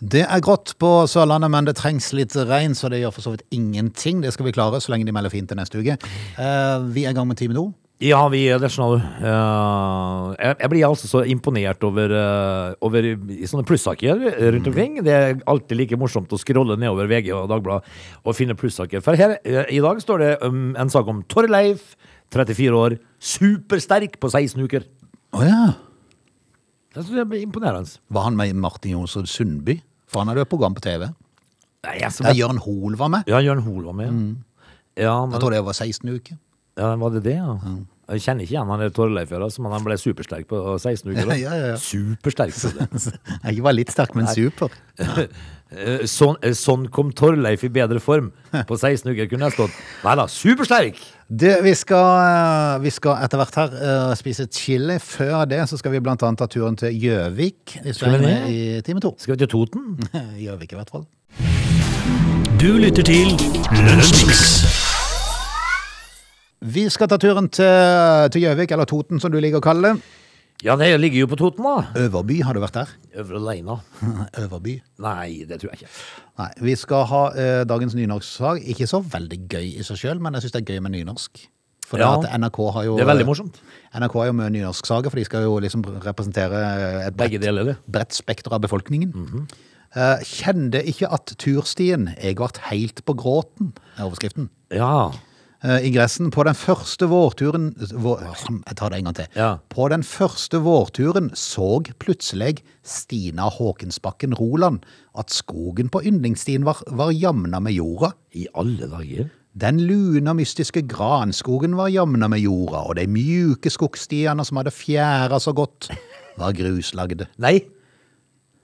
Speaker 1: Det er grått på Sørlandet, men det trengs litt regn, så det gjør for så vidt ingenting. Det skal vi klare så lenge de melder fint til neste uke. Eh, vi er i gang med time to.
Speaker 3: Ja, vi det er sånn, eh, jeg, jeg blir altså så imponert over, eh, over i- i sånne plussaker
Speaker 1: Mm.
Speaker 3: rundt omkring. Det er alltid like morsomt å scrolle nedover VG og Dagbladet og finne plussaker. For her eh, i dag står det um, en sak om Torleif, 34 år, supersterk på 16 uker.
Speaker 1: Å ja.
Speaker 3: Jeg synes det blir imponerende.
Speaker 1: Var han med i Martin Jonsrud Sundby? For han hadde jo et program på TV.
Speaker 3: Nei, jeg,
Speaker 1: Der
Speaker 3: som,
Speaker 1: Jørn Hoel var med.
Speaker 3: ja, Jørn Hoel var med. ja.
Speaker 1: Mm.
Speaker 3: Ja, men,
Speaker 1: Jeg tror det var 16 uker.
Speaker 3: ja, var det det, ja? Jeg kjenner ikke igjen han der Torleif, her, altså, men han ble supersterk på 16 uker. da.
Speaker 1: Ja, ja, ja.
Speaker 3: Supersterk. Frode.
Speaker 1: [LAUGHS] Jeg var litt sterk, men super.
Speaker 3: Eh, Sånn, eh, sånn kom Torleif i
Speaker 1: [LAUGHS]
Speaker 3: bedre form. På 16 uker kunne jeg stått. Nei da, supersterk!
Speaker 1: Du, vi skal, eh, vi skal etter hvert her eh, spise chili. Før det så skal vi blant annet ta turen til Gjøvik. Hvis du
Speaker 3: Skal vi
Speaker 1: er med
Speaker 3: ned?
Speaker 1: i time to. [LAUGHS]
Speaker 3: Skal vi til Toten?
Speaker 1: Gjøvik i hvert fall.
Speaker 2: Du lytter til Lunsjmix.
Speaker 1: Vi skal ta turen til til Gjøvik, eller Toten som du liker å kalle det.
Speaker 3: Ja, det ligger jo på Toten, da.
Speaker 1: Øverby, har du vært der? [LAUGHS]
Speaker 3: Øvre Leina.
Speaker 1: Øverby.
Speaker 3: Nei, det tror jeg ikke.
Speaker 1: Nei, vi skal ha eh, dagens nynorskfag. Ikke så veldig gøy i seg sjøl, men jeg syns det er gøy med nynorsk. For
Speaker 3: Ja.
Speaker 1: det at NRK har jo eh,
Speaker 3: Det er veldig morsomt.
Speaker 1: NRK har jo mye nynorsksaker, for de skal jo liksom representere eh, et
Speaker 3: Begge
Speaker 1: bredt,
Speaker 3: deler, det.
Speaker 1: bredt spekter av befolkningen. Eh, kjente ikke at turstien Jeg vart heilt på gråten, er overskriften.
Speaker 3: Ja.
Speaker 1: eh, ingressen. På den første vårturen vår, Jeg tar det en gang til.
Speaker 3: Ja.
Speaker 1: På den første vårturen så plutselig Stina Håkensbakken Roland at skogen på yndlingsstien var, var jamna med jorda.
Speaker 3: I alle dager.
Speaker 1: Den lune og mystiske granskogen var jamna med jorda, og de mjuke skogstiene som hadde fjæra så godt, var gruslagde.
Speaker 3: Nei.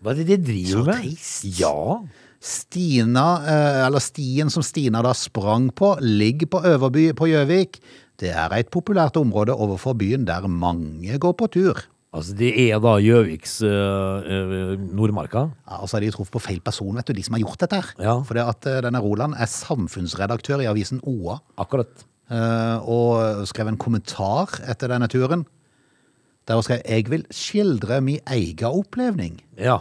Speaker 3: Hva er det de driver
Speaker 1: Så
Speaker 3: med?
Speaker 1: trist.
Speaker 3: Ja.
Speaker 1: Stina, eh, eller stien som Stina da sprang på, ligger på Øverby på Gjøvik. Det er et populært område overfor byen der mange går på tur.
Speaker 3: Altså, det er da Gjøviks øh, øh, Nordmarka.
Speaker 1: Ja, og så har de truffet på feil person, vet du, de som har gjort dette her.
Speaker 3: Ja.
Speaker 1: For det at eh, denne Roland er samfunnsredaktør i avisen OA,
Speaker 3: Akkurat.
Speaker 1: eh, og skrev en kommentar etter denne turen, der hun skrev, jeg vil skildre min egen opplevning.
Speaker 3: Ja.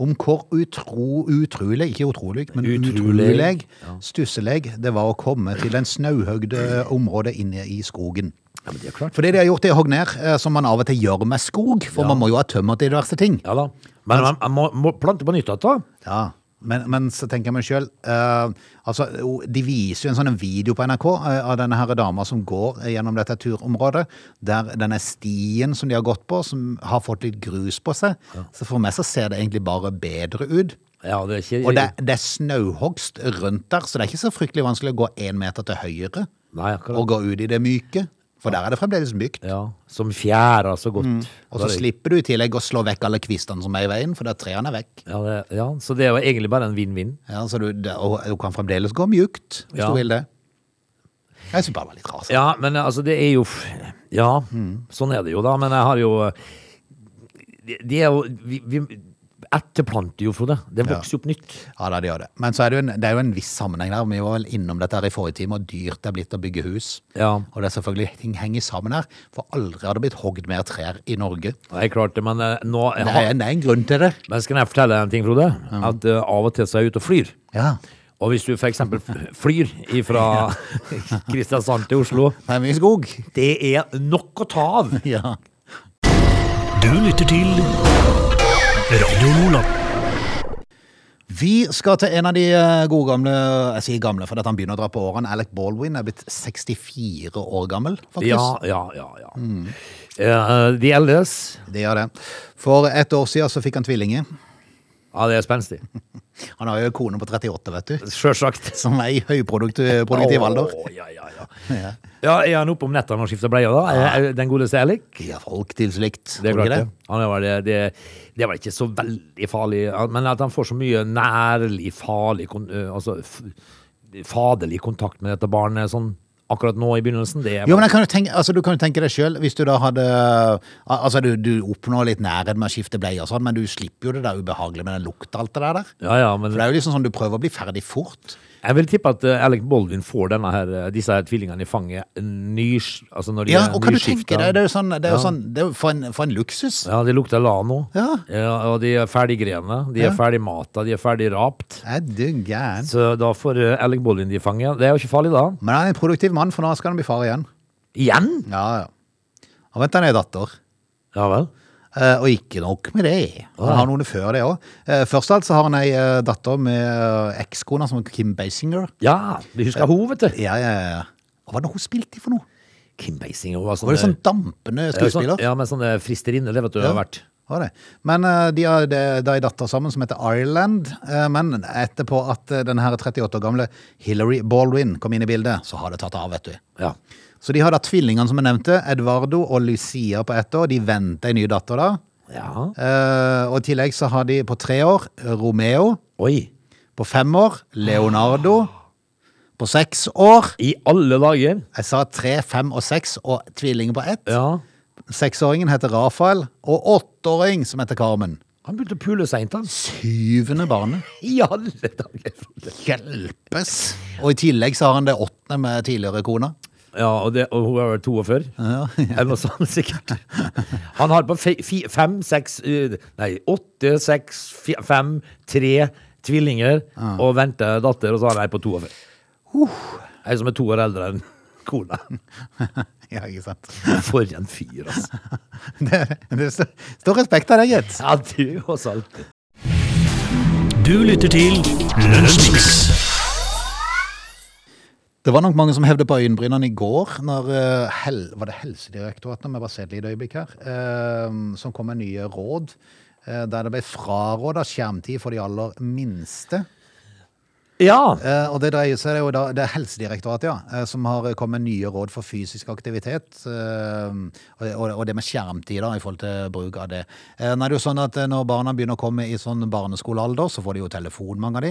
Speaker 1: om hvor utro, utrolig, ikke utrolig, men
Speaker 3: Utrolig.
Speaker 1: utrolig, stusselig det var å komme til en snauhøgde område inne i skogen.
Speaker 3: Ja, men det er klart.
Speaker 1: For det de har gjort, det er hogd ned, eh, som man av og til gjør med skog, for man må jo ha tømmer til diverse ting.
Speaker 3: Ja da. Men
Speaker 1: Altså-
Speaker 3: man, man må, må plante på nytt igjen, da.
Speaker 1: Ja, men, men så tenker jeg meg selv, eh, altså, o- de viser jo en sånn video på NRK eh, av denne her dama som går eh, gjennom dette turområdet, der denne stien som de har gått på, som har fått litt grus på seg, så for meg så ser det egentlig bare bedre ut.
Speaker 3: Ja, det er ikke
Speaker 1: Og det, det er snauhogst rundt der, så det er ikke så fryktelig vanskelig å gå én meter til høyre
Speaker 3: Nei, akkurat.
Speaker 1: og gå ut i det myke. For der er det fremdeles mykt.
Speaker 3: Ja, som fjæra så godt.
Speaker 1: Mm. Og så
Speaker 3: Da er det-
Speaker 1: slipper du i tillegg å slå vekk alle kvistene som er i veien, for der trærne er vekk.
Speaker 3: ja, det, ja, så det var egentlig bare en vinn-vinn.
Speaker 1: Ja, så du, det, og du kan fremdeles gå mjukt, hvis
Speaker 3: Ja.
Speaker 1: du vil det. Jeg syns bare det var litt rart.
Speaker 3: Ja, men altså, det er jo f- Ja, sånn er det jo, da. Men jeg har jo Det det er jo vi, vi Etterplanter jo, Frode. Det vokser jo opp nytt.
Speaker 1: Ja, da, det gjør det. Men så er det, jo en, det er jo en viss sammenheng der. Vi var vel innom dette her i forrige time, og dyrt det er blitt å bygge hus.
Speaker 3: Ja.
Speaker 1: Og det er selvfølgelig ting henger sammen her, for aldri har det blitt hogd mer trær i Norge.
Speaker 3: Det er klart det, men eh, nå
Speaker 1: Det er, det er en grunn til det.
Speaker 3: Men skal jeg fortelle en ting, Frode? At eh, av og til så er jeg ute og flyr.
Speaker 1: Ja.
Speaker 3: Og hvis du for eksempel f- flyr fra Kristiansand til Oslo
Speaker 1: Det er mye skog.
Speaker 3: Det er nok å ta av!
Speaker 1: Ja.
Speaker 2: Du lytter til Radio Nordland.
Speaker 1: Vi skal til en av de eh, gode gamle Jeg sier gamle fordi at han begynner å dra på årene. Alec Baldwin er blitt 64 år gammel, faktisk.
Speaker 3: Ja, ja, ja. ja. Eh, de eldres
Speaker 1: Det gjør det. For et år siden så fikk han tvillinger.
Speaker 3: Ja, det er spenstig.
Speaker 1: Han har jo en kone på 38, vet du.
Speaker 3: Sjølsagt.
Speaker 1: Som er i høyproduktiv alder.
Speaker 3: Å, ja, ja,
Speaker 1: [LAUGHS]
Speaker 3: ja. ja, er han oppe om nettene og skifter bleier, da? Er- er Den godeste Alec?
Speaker 1: De er folk til slikt.
Speaker 3: Det er
Speaker 1: tror du
Speaker 3: klart
Speaker 1: ikke
Speaker 3: det. Han er, vel- det, det, det er vel ikke så veldig farlig, men at han får så mye nærlig farlig kon- eh, altså, f- faderlig kontakt med dette barnet sånn akkurat nå i begynnelsen, det er
Speaker 1: Jo, men jeg kan jo tenke, altså, Du kan jo tenke deg sjøl, hvis du da hadde al- Altså, du, du oppnår litt nærhet med å skifte bleie og sånn, men du slipper jo det der ubehagelige med den lukta alt det der. der.
Speaker 3: ja, ja, men
Speaker 1: For det er jo liksom sånn du prøver å bli ferdig fort.
Speaker 3: Jeg vil tippe at eh, Alec Baldwin får denne her, eh, disse her tvillingene i fanget nys, altså når de
Speaker 1: Ja,
Speaker 3: er
Speaker 1: og kan du
Speaker 3: nyskiftet.
Speaker 1: tenke deg, det er jo sånn, det er jo
Speaker 3: Ja.
Speaker 1: sånn det er jo for, en, for en luksus.
Speaker 3: Ja, de lukter lano.
Speaker 1: Ja.
Speaker 3: og de er ferdig grene, de er
Speaker 1: Ja.
Speaker 3: ferdig mata, de er ferdig rapt.
Speaker 1: Er du gæren?
Speaker 3: Så da får eh, Alec Baldwin de i fanget. Det er jo ikke farlig da.
Speaker 1: Men han er en produktiv mann, for nå skal han bli far igjen.
Speaker 3: Igjen?
Speaker 1: Ja, ja. Og vent, han er datter.
Speaker 3: Ja vel.
Speaker 1: Eh, og ikke nok med det. Han har noen før det òg. Eh, først av alt så har han ei eh, datter med eh, ekskona som er Kim Basinger.
Speaker 3: Ja, vi husker hun, vet du.
Speaker 1: Ja, ja, ja. Hva var det hun spilte i for noe?
Speaker 3: Kim Basinger var sånn
Speaker 1: Var det sånn dampende
Speaker 3: Ja, sånn-
Speaker 1: skuespiller?
Speaker 3: Ja, men sånn eh, fristerinne, det vet du, har vært.
Speaker 1: Var det. Men eh, de har de- de ei datter sammen som heter Ireland. eh, men etterpå at eh, den her 38 år gamle Hillary Baldwin kom inn i bildet, så har det tatt av, vet du.
Speaker 3: Ja.
Speaker 1: Så de har da tvillingene som jeg nevnte, Eduardo og Lucia på ett år. De venter ei ny datter da.
Speaker 3: ja.
Speaker 1: Eh, og i tillegg så har de på tre år Romeo.
Speaker 3: Oi.
Speaker 1: På fem år Leonardo. På seks år
Speaker 3: I alle dager.
Speaker 1: Jeg sa tre, fem og seks, og tvillinger på ett.
Speaker 3: Ja.
Speaker 1: Seksåringen heter Rafael, og åtteåring som heter Carmen.
Speaker 3: Han begynte å pule seint, han.
Speaker 1: Syvende barnet.
Speaker 3: I alle dager.
Speaker 1: Hjelpes! Og i tillegg så har han det åttende med tidligere kona.
Speaker 3: Ja, og, det, og hun er vel 42?
Speaker 1: Ja.
Speaker 3: [LAUGHS] Eller noe sånt, sikkert. Han har på fe- fi- fem, seks eh, Nei, åtte, seks, fi- fem, tre tvillinger og venter datter, og så har han ei på 42. Ei som er to år eldre enn [LAUGHS] kona.
Speaker 1: Ja, ikke sant?
Speaker 3: For en fyr, altså.
Speaker 1: Det, det st- står respekt av deg, gitt.
Speaker 3: Ja, du også alltid.
Speaker 4: Du lytter til Lunsjmix.
Speaker 1: Det var nok mange som hevde på øyenbrynene i går, når eh, hel, var det Helsedirektoratet, om jeg bare ser et lite øyeblikk her, eh, som kom med nye råd, eh, der det ble fraråda skjermtid for de aller minste.
Speaker 3: Ja.
Speaker 1: Eh, og det dreier seg jo da, det er Helsedirektoratet ja, eh, som har kommet med nye råd for fysisk aktivitet, eh, og, og og det med skjermtid da, i forhold til bruk av det. Eh, nå er det jo sånn at eh, når barna begynner å komme i sånn barneskolealder, så får de jo telefon, mange av de.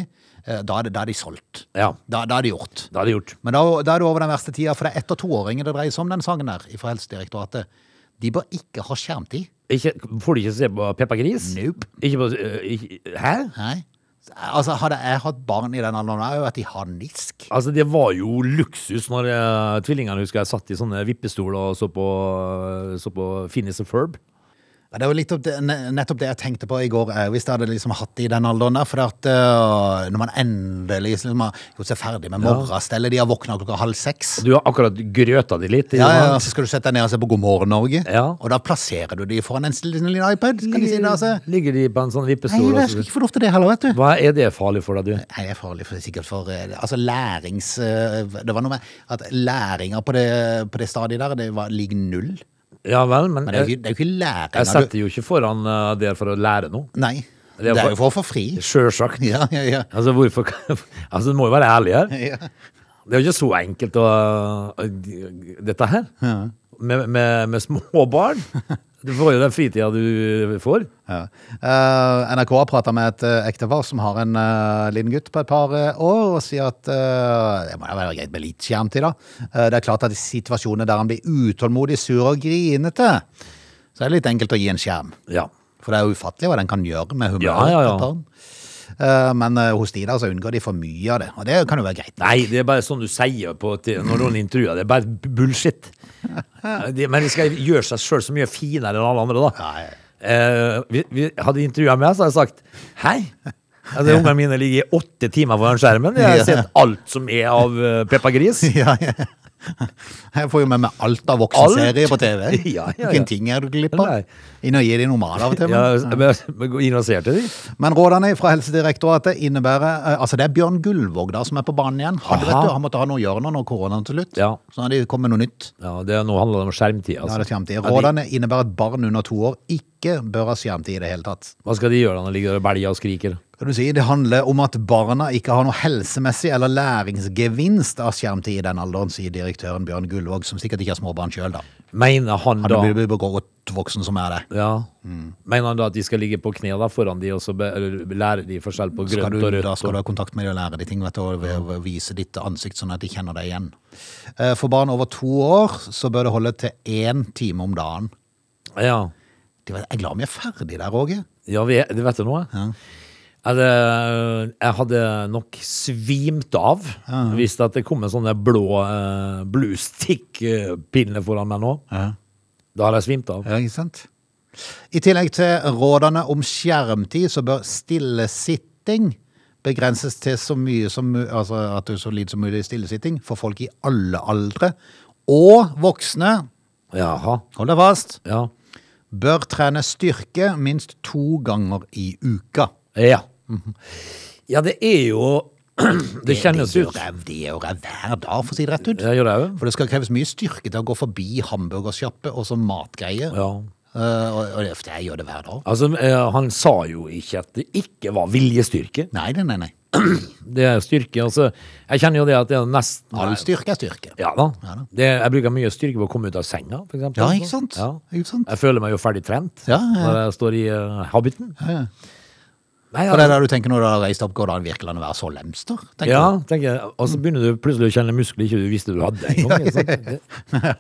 Speaker 1: Eh, da, er det, da er de solgt.
Speaker 3: Ja.
Speaker 1: Da, da er det gjort.
Speaker 3: Det hadde jeg gjort.
Speaker 1: Men da, da er det over den verste tida, for det er ett- og toåringer det dreier seg om den sangen der, fra Helsedirektoratet. De bør ikke ha skjermtid.
Speaker 3: Ikke, får de ikke se på Peppa Gris?
Speaker 1: Nope.
Speaker 3: Ikke på, øh, ikke, hæ?
Speaker 1: Nei. Altså, hadde jeg hatt barn i den alderen, hadde jeg jo vært i harnisk.
Speaker 3: Altså, det var jo luksus når eh, tvillingene husker jeg satt i sånne vippestol og så på, så på Phineas and Ferb.
Speaker 1: Ja, Det var litt opp det, ne- nettopp det jeg tenkte på i går, eh, hvis jeg hadde liksom hatt det i den alderen der. For at, eh, når man endelig liksom, har gjort seg ferdig med morgenstellet, de har våkna klokka halv seks.
Speaker 3: Du har akkurat grøta de litt.
Speaker 1: Ja, ja, ja, Så skal du sette deg ned og se på God morgen Norge,
Speaker 3: Ja.
Speaker 1: og da plasserer du de foran en sl- liten liten iPad. Skal de si det, altså?
Speaker 3: Ligger de på en sånn
Speaker 1: Nei,
Speaker 3: vippestol?
Speaker 1: jeg
Speaker 3: og
Speaker 1: skal
Speaker 3: så-
Speaker 1: ikke få lov til det heller, vet du.
Speaker 3: Hva er det farlig for deg, du?
Speaker 1: Nei, det er farlig for, sikkert for eh, Altså lærings... eh, Det var noe med at læringa på det, på det stadiet der, det var, ligger null.
Speaker 3: Ja vel, men
Speaker 1: Men det er jo
Speaker 3: jeg,
Speaker 1: ikke, det er jo ikke læringa
Speaker 3: jeg
Speaker 1: du-
Speaker 3: setter jo ikke foran eh, der for å lære noe.
Speaker 1: Nei.
Speaker 3: Det er
Speaker 1: Det er
Speaker 3: for-
Speaker 1: jo for å få fri.
Speaker 3: Sjølsagt.
Speaker 1: Ja, ja, ja.
Speaker 3: Altså, hvorfor [LAUGHS] Altså, du må jo være ærlig her.
Speaker 1: ja.
Speaker 3: Det er jo ikke så enkelt å, å dette her. Med, med, med små barn. Du får jo den fritida du får.
Speaker 1: Ja. Eh, NRK har prata med et eh, ektepar som har en eh, liten gutt på et par eh, år, og sier at eh, det må da være greit med litt skjermtid, da. Eh, det er klart at i situasjoner der han blir utålmodig, sur og grinete, så er det litt enkelt å gi en skjerm.
Speaker 3: Ja.
Speaker 1: For det er jo ufattelig hva den kan gjøre med humøret.
Speaker 3: Ja, ja, ja.
Speaker 1: til barn. Eh, men eh, hos de der så unngår de for mye av det, og det kan jo være greit.
Speaker 3: Nei, det er bare sånn du sier på t- når noen intervjuer. Det er bare b- bullshit. De- Men de skal gjøre seg sjøl så mye finere enn alle andre, da.
Speaker 1: Nei.
Speaker 3: Eh, vi, vi hadde intervjua meg, så hadde jeg sagt hei. Altså, Ungene mine ligger i åtte timer foran skjermen. Jeg har
Speaker 1: Ja.
Speaker 3: sett alt som er av eh, Peppa Gris.
Speaker 1: [LAUGHS] Ja, ja. Jeg får jo med meg alt av voksenserier på TV.
Speaker 3: [LAUGHS] Ja, ja, ja.
Speaker 1: Hvilken ting er du glipp av?
Speaker 3: Nei.
Speaker 1: Inn og gi deg normal av og til.
Speaker 3: Ja,
Speaker 1: men-
Speaker 3: men, men gå inn og ser til de.
Speaker 1: Men rådene fra Helsedirektoratet innebærer eh, Altså, det er Bjørn Gullvåg da som er på banen igjen. Han, vet
Speaker 3: Aha.
Speaker 1: du, han måtte ha noe å gjøre nå når koronaen til slutt.
Speaker 3: Ja.
Speaker 1: Så har de kommet med noe nytt.
Speaker 3: Ja, det, nå handler det om skjermtid.
Speaker 1: Ja,
Speaker 3: Altså.
Speaker 1: det er skjermtid.
Speaker 3: de-
Speaker 1: Rådene innebærer at barn under to år ikke bør ha skjermtid i det hele tatt.
Speaker 3: Hva skal de gjøre når de ligger der og belger og skriker?
Speaker 1: Kan du si, Det handler om at barna ikke har noe helsemessig eller læringsgevinst av skjermtid i den alderen, sier direktøren Bjørn Gullvåg, som sikkert ikke har småbarn sjøl, da.
Speaker 3: Mener han
Speaker 1: Han
Speaker 3: da
Speaker 1: blir blir godt voksen som er det.
Speaker 3: ja.
Speaker 1: Mm.
Speaker 3: Mener han da at de skal ligge på kne da foran de og så be, eller lære de forskjell på
Speaker 1: Skal
Speaker 3: grønt
Speaker 1: du,
Speaker 3: og rødt?
Speaker 1: da skal du ha kontakt med dem og lære de ting, vet du, og ved å vise ditt ansikt sånn at de kjenner deg igjen. Eh, For barn over to år så bør det holde til én time om dagen.
Speaker 3: og, ja.
Speaker 1: Det var- Jeg er glad vi er ferdig der, Åge.
Speaker 3: ja, vi er- vet du noe? Er det- Jeg hadde nok svimt av hvis at det kom en sånne blå eh, bluestick-pinne foran meg nå. Da hadde jeg svimt av.
Speaker 1: Ja, ikke sant? I tillegg til rådene om skjermtid, så bør stillesitting begrenses til så mye som mu- altså at det er så lite som mulig stillesitting for folk i alle aldre. Og voksne,
Speaker 3: Jaha.
Speaker 1: hold deg fast,
Speaker 3: Ja.
Speaker 1: bør trene styrke minst to ganger i uka.
Speaker 3: Ja. ja, det er jo [CLEARS THROAT] Det kjennes
Speaker 1: det gjør
Speaker 3: ut.
Speaker 1: jeg- Det gjør jeg hver dag, for å si det rett ut.
Speaker 3: Ja, gjør jeg jo.
Speaker 1: For det skal kreves mye styrke til å gå forbi hamburgersjappe og så matgreier.
Speaker 3: Ja.
Speaker 1: Eh, og, og det- jeg gjør det hver dag.
Speaker 3: Altså, eh, han sa jo ikke at det ikke var viljestyrke.
Speaker 1: Nei, nei, nei. nei.
Speaker 3: Det er styrke. Altså, jeg kjenner jo det at det er nesten
Speaker 1: All styrke er styrke.
Speaker 3: Ja da.
Speaker 1: Ja da.
Speaker 3: Det, jeg bruker mye styrke på å komme ut av senga, for eksempel.
Speaker 1: Ja, ikke sant?
Speaker 3: Ja.
Speaker 1: Ikke sant?
Speaker 3: Jeg føler meg jo ferdig trent
Speaker 1: Ja, ja, ja.
Speaker 3: når jeg står i eh, habiten.
Speaker 1: ja.
Speaker 3: Nei,
Speaker 1: Og det er
Speaker 3: ja,
Speaker 1: det du tenker når du har reist opp, går det an virkelig an å være så lemster? tenker
Speaker 3: ja, tenker jeg. Og så begynner du plutselig å kjenne muskler ikke du visste du hadde. En
Speaker 1: [LAUGHS]
Speaker 3: gang, ikke sant? Det-
Speaker 1: du?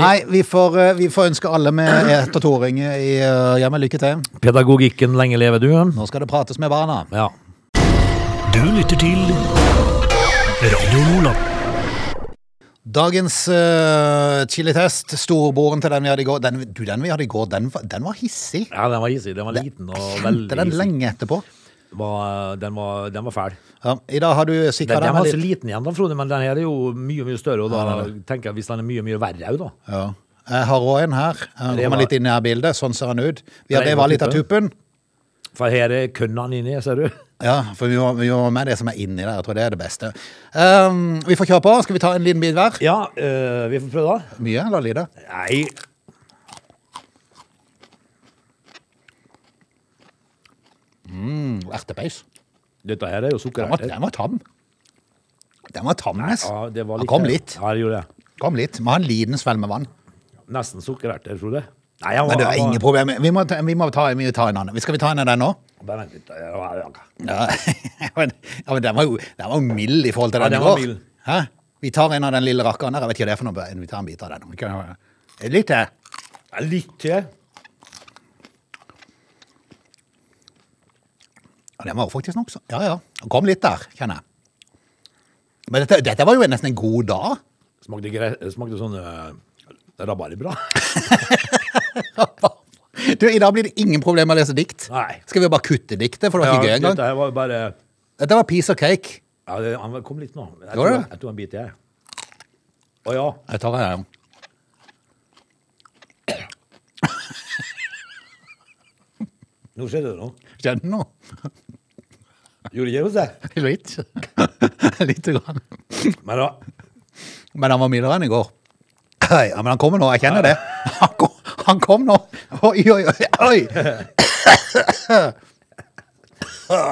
Speaker 1: Nei, vi får, eh, vi får ønske alle med ett- og toåringer i eh, hjemmet lykke til.
Speaker 3: Pedagogikken lenge lever du.
Speaker 1: Nå skal det prates med barna.
Speaker 3: Ja.
Speaker 4: Du lytter til Radio Nordland.
Speaker 1: Dagens eh, chilitest, storbroren til den vi hadde i går, den, du, den vi hadde i går, den, var- den var hissig.
Speaker 3: ja, den var hissig. Den var liten og
Speaker 1: Kjente
Speaker 3: veldig
Speaker 1: den
Speaker 3: hissig.
Speaker 1: lenge etterpå.
Speaker 3: Var- eh, Den var, den var fæl.
Speaker 1: Ja, I dag har du sikra
Speaker 3: Den, den
Speaker 1: deg
Speaker 3: var
Speaker 1: med
Speaker 3: så
Speaker 1: litt.
Speaker 3: liten igjen, da, Frode, men den her er jo mye mye større. Og da tenker jeg hvis den er mye mye verre òg, da.
Speaker 1: Ja. Jeg har òg en her. Jeg
Speaker 3: Det
Speaker 1: Kommer
Speaker 3: var-
Speaker 1: litt inn i her bildet. Sånn ser han ut. Vi har
Speaker 3: Nei,
Speaker 1: revet av litt av
Speaker 3: tuppen.
Speaker 1: tuppen.
Speaker 3: For her er kønna inni, ser du.
Speaker 1: Ja, for vi må, vi må med det som er inni der. Jeg tror det er det beste. Um, vi får kjøre på. Skal vi ta en liten bit hver?
Speaker 3: Ja, øh, vi får prøve, da.
Speaker 1: Mye eller lite?
Speaker 3: Nei
Speaker 1: Mm, Ertepeis.
Speaker 3: Dette her er jo sukker.
Speaker 1: Den var, den var tam. Den var tamnes.
Speaker 3: Ja, det var
Speaker 1: Han kom litt.
Speaker 3: Ja, det gjorde det.
Speaker 1: Kom litt. Må ha en liten svelg med vann.
Speaker 3: Nesten sukkererter, Frode. Nei, han var,
Speaker 1: Men det er
Speaker 3: han
Speaker 1: ingen
Speaker 3: var-
Speaker 1: problem. Vi må ta, vi må ta, vi må ta en annen. Skal vi ta en av den nå?
Speaker 3: Bare vent litt. Ja, ja, ja.
Speaker 1: Ja, [LAUGHS] men, ja, men den var jo den var jo mild i forhold til
Speaker 3: Ja,
Speaker 1: den,
Speaker 3: den
Speaker 1: i
Speaker 3: var
Speaker 1: går.
Speaker 3: mild.
Speaker 1: Hæ? Vi tar en av den lille rakkeren her. Jeg vet ikke hva det er for noe. Vi tar en bit av den. Kan- Litt eh, til.
Speaker 3: Ja, Litt til.
Speaker 1: Ja, den var jo faktisk nokså Ja, ja. Den kom litt der, kjenner jeg. Men dette, dette var jo nesten en god dag. [LAUGHS]
Speaker 3: Smakte, gre- smakte sånn øh, rabarbra.
Speaker 1: Du, I dag blir det ingen problem med å lese dikt.
Speaker 3: Nei.
Speaker 1: Skal vi bare kutte diktet, for det var ikke gøy
Speaker 3: dette
Speaker 1: engang?
Speaker 3: her var jo bare
Speaker 1: Dette var piece of cake.
Speaker 3: ja, det, Han kom litt nå. Jeg
Speaker 1: Gjorde
Speaker 3: tok,
Speaker 1: det?
Speaker 3: jeg tok en bit til, jeg. Å ja.
Speaker 1: Jeg tar en, ja.
Speaker 3: Nå skjedde det noe.
Speaker 1: Kjenner du noe? [LAUGHS]
Speaker 3: Gjorde ikke hos deg.
Speaker 1: Litt. [LAUGHS] Litt grann.
Speaker 3: Men da
Speaker 1: Men han var mildere enn i går. Hei, Ja, men han kommer nå, jeg kjenner det. [LAUGHS] Han kom, han kom nå. Oi, oi, oi. oi.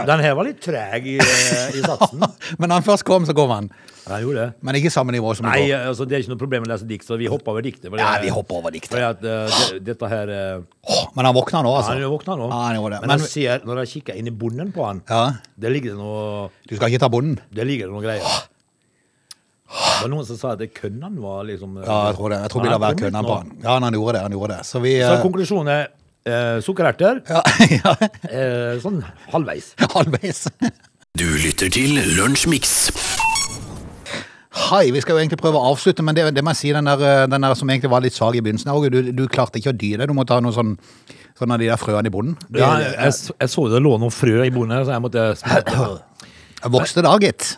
Speaker 3: Den her var litt treg i, eh, i
Speaker 1: [LAUGHS]
Speaker 3: satsen.
Speaker 1: Men når han først kom, så kom han.
Speaker 3: Ja, den gjorde det.
Speaker 1: Men ikke samme nivå som i
Speaker 3: Nei,
Speaker 1: går.
Speaker 3: altså, det er ikke noe problem å lese dikt, så vi hopper over diktet. for det-
Speaker 1: Ja, vi hopper over diktet.
Speaker 3: Fordi at eh, det, dette her eh,
Speaker 1: Åh, Men han våkna nå, altså.
Speaker 3: Han er jo våkna nå.
Speaker 1: Ja, han gjorde det.
Speaker 3: Men
Speaker 1: Men-
Speaker 3: jeg ser, når jeg kikker inn i bonden på han,
Speaker 1: Ja.
Speaker 3: det ligger det noe,
Speaker 1: Du skal ikke ta bonden?
Speaker 3: det ligger det noe greier.
Speaker 1: Ah.
Speaker 3: Det var noen som sa at det kønnen var liksom
Speaker 1: Ja, jeg tror det. Jeg tror vi
Speaker 3: Han
Speaker 1: lar være
Speaker 3: kom litt
Speaker 1: kønna
Speaker 3: nå.
Speaker 1: på han. Ja, han gjorde det. han gjorde det. Så vi
Speaker 3: Så
Speaker 1: eh,
Speaker 3: konklusjonen er eh, sukkererter.
Speaker 1: ja, [LAUGHS] ja,
Speaker 3: Eh, sånn halvveis.
Speaker 1: halvveis.
Speaker 4: Du lytter til Lunsjmix.
Speaker 1: Hei, vi skal jo egentlig prøve å avslutte, men det, det må jeg si, den der, eh, den der som egentlig var litt svag i begynnelsen, Åge, du, du klarte ikke å dy deg. Du måtte ha noe sånn, sånn av de der frøene i bonden. Det-
Speaker 3: Ja, jeg, jeg så det lå noen frø i bonden her, så jeg måtte
Speaker 1: Jeg vokste da, gitt.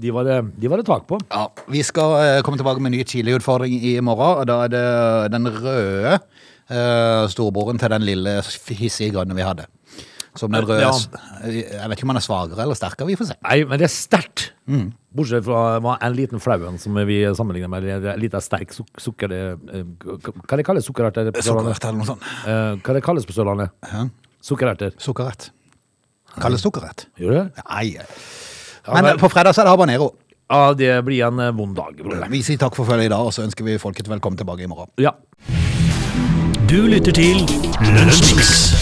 Speaker 3: De var, det- de var det tak på.
Speaker 1: Ja, vi skal eh, komme tilbake med en ny Chile-utfordring i morgen. og Da er det den røde eh, storebroren til den lille hissige grønne vi hadde. Som den røde
Speaker 3: Ja.
Speaker 1: Jeg vet ikke om han er svakere eller sterkere, vi får se.
Speaker 3: Nei, men det er sterkt.
Speaker 1: Mm.
Speaker 3: Bortsett fra hva en liten flauen som vi sammenligner med. En liten sterk suk sukker... eh, k- Hva det kalles sukkererter? på Sørlandet?
Speaker 1: Sukkerert eller noe sånt.
Speaker 3: Eh, Hva det kalles på Sørlandet? Sukkererter.
Speaker 1: Sukkerrett. Kalles sukkerrett?
Speaker 3: Gjør det?
Speaker 1: Nei. Men
Speaker 3: men-
Speaker 1: eh, på fredag så er det habanero.
Speaker 3: Ja, det blir en eh, vond dag. bror.
Speaker 1: Vi sier takk for følget i dag, og så ønsker vi folket velkommen tilbake i morgen.
Speaker 3: Ja.
Speaker 4: Du lytter til Lunsjmix.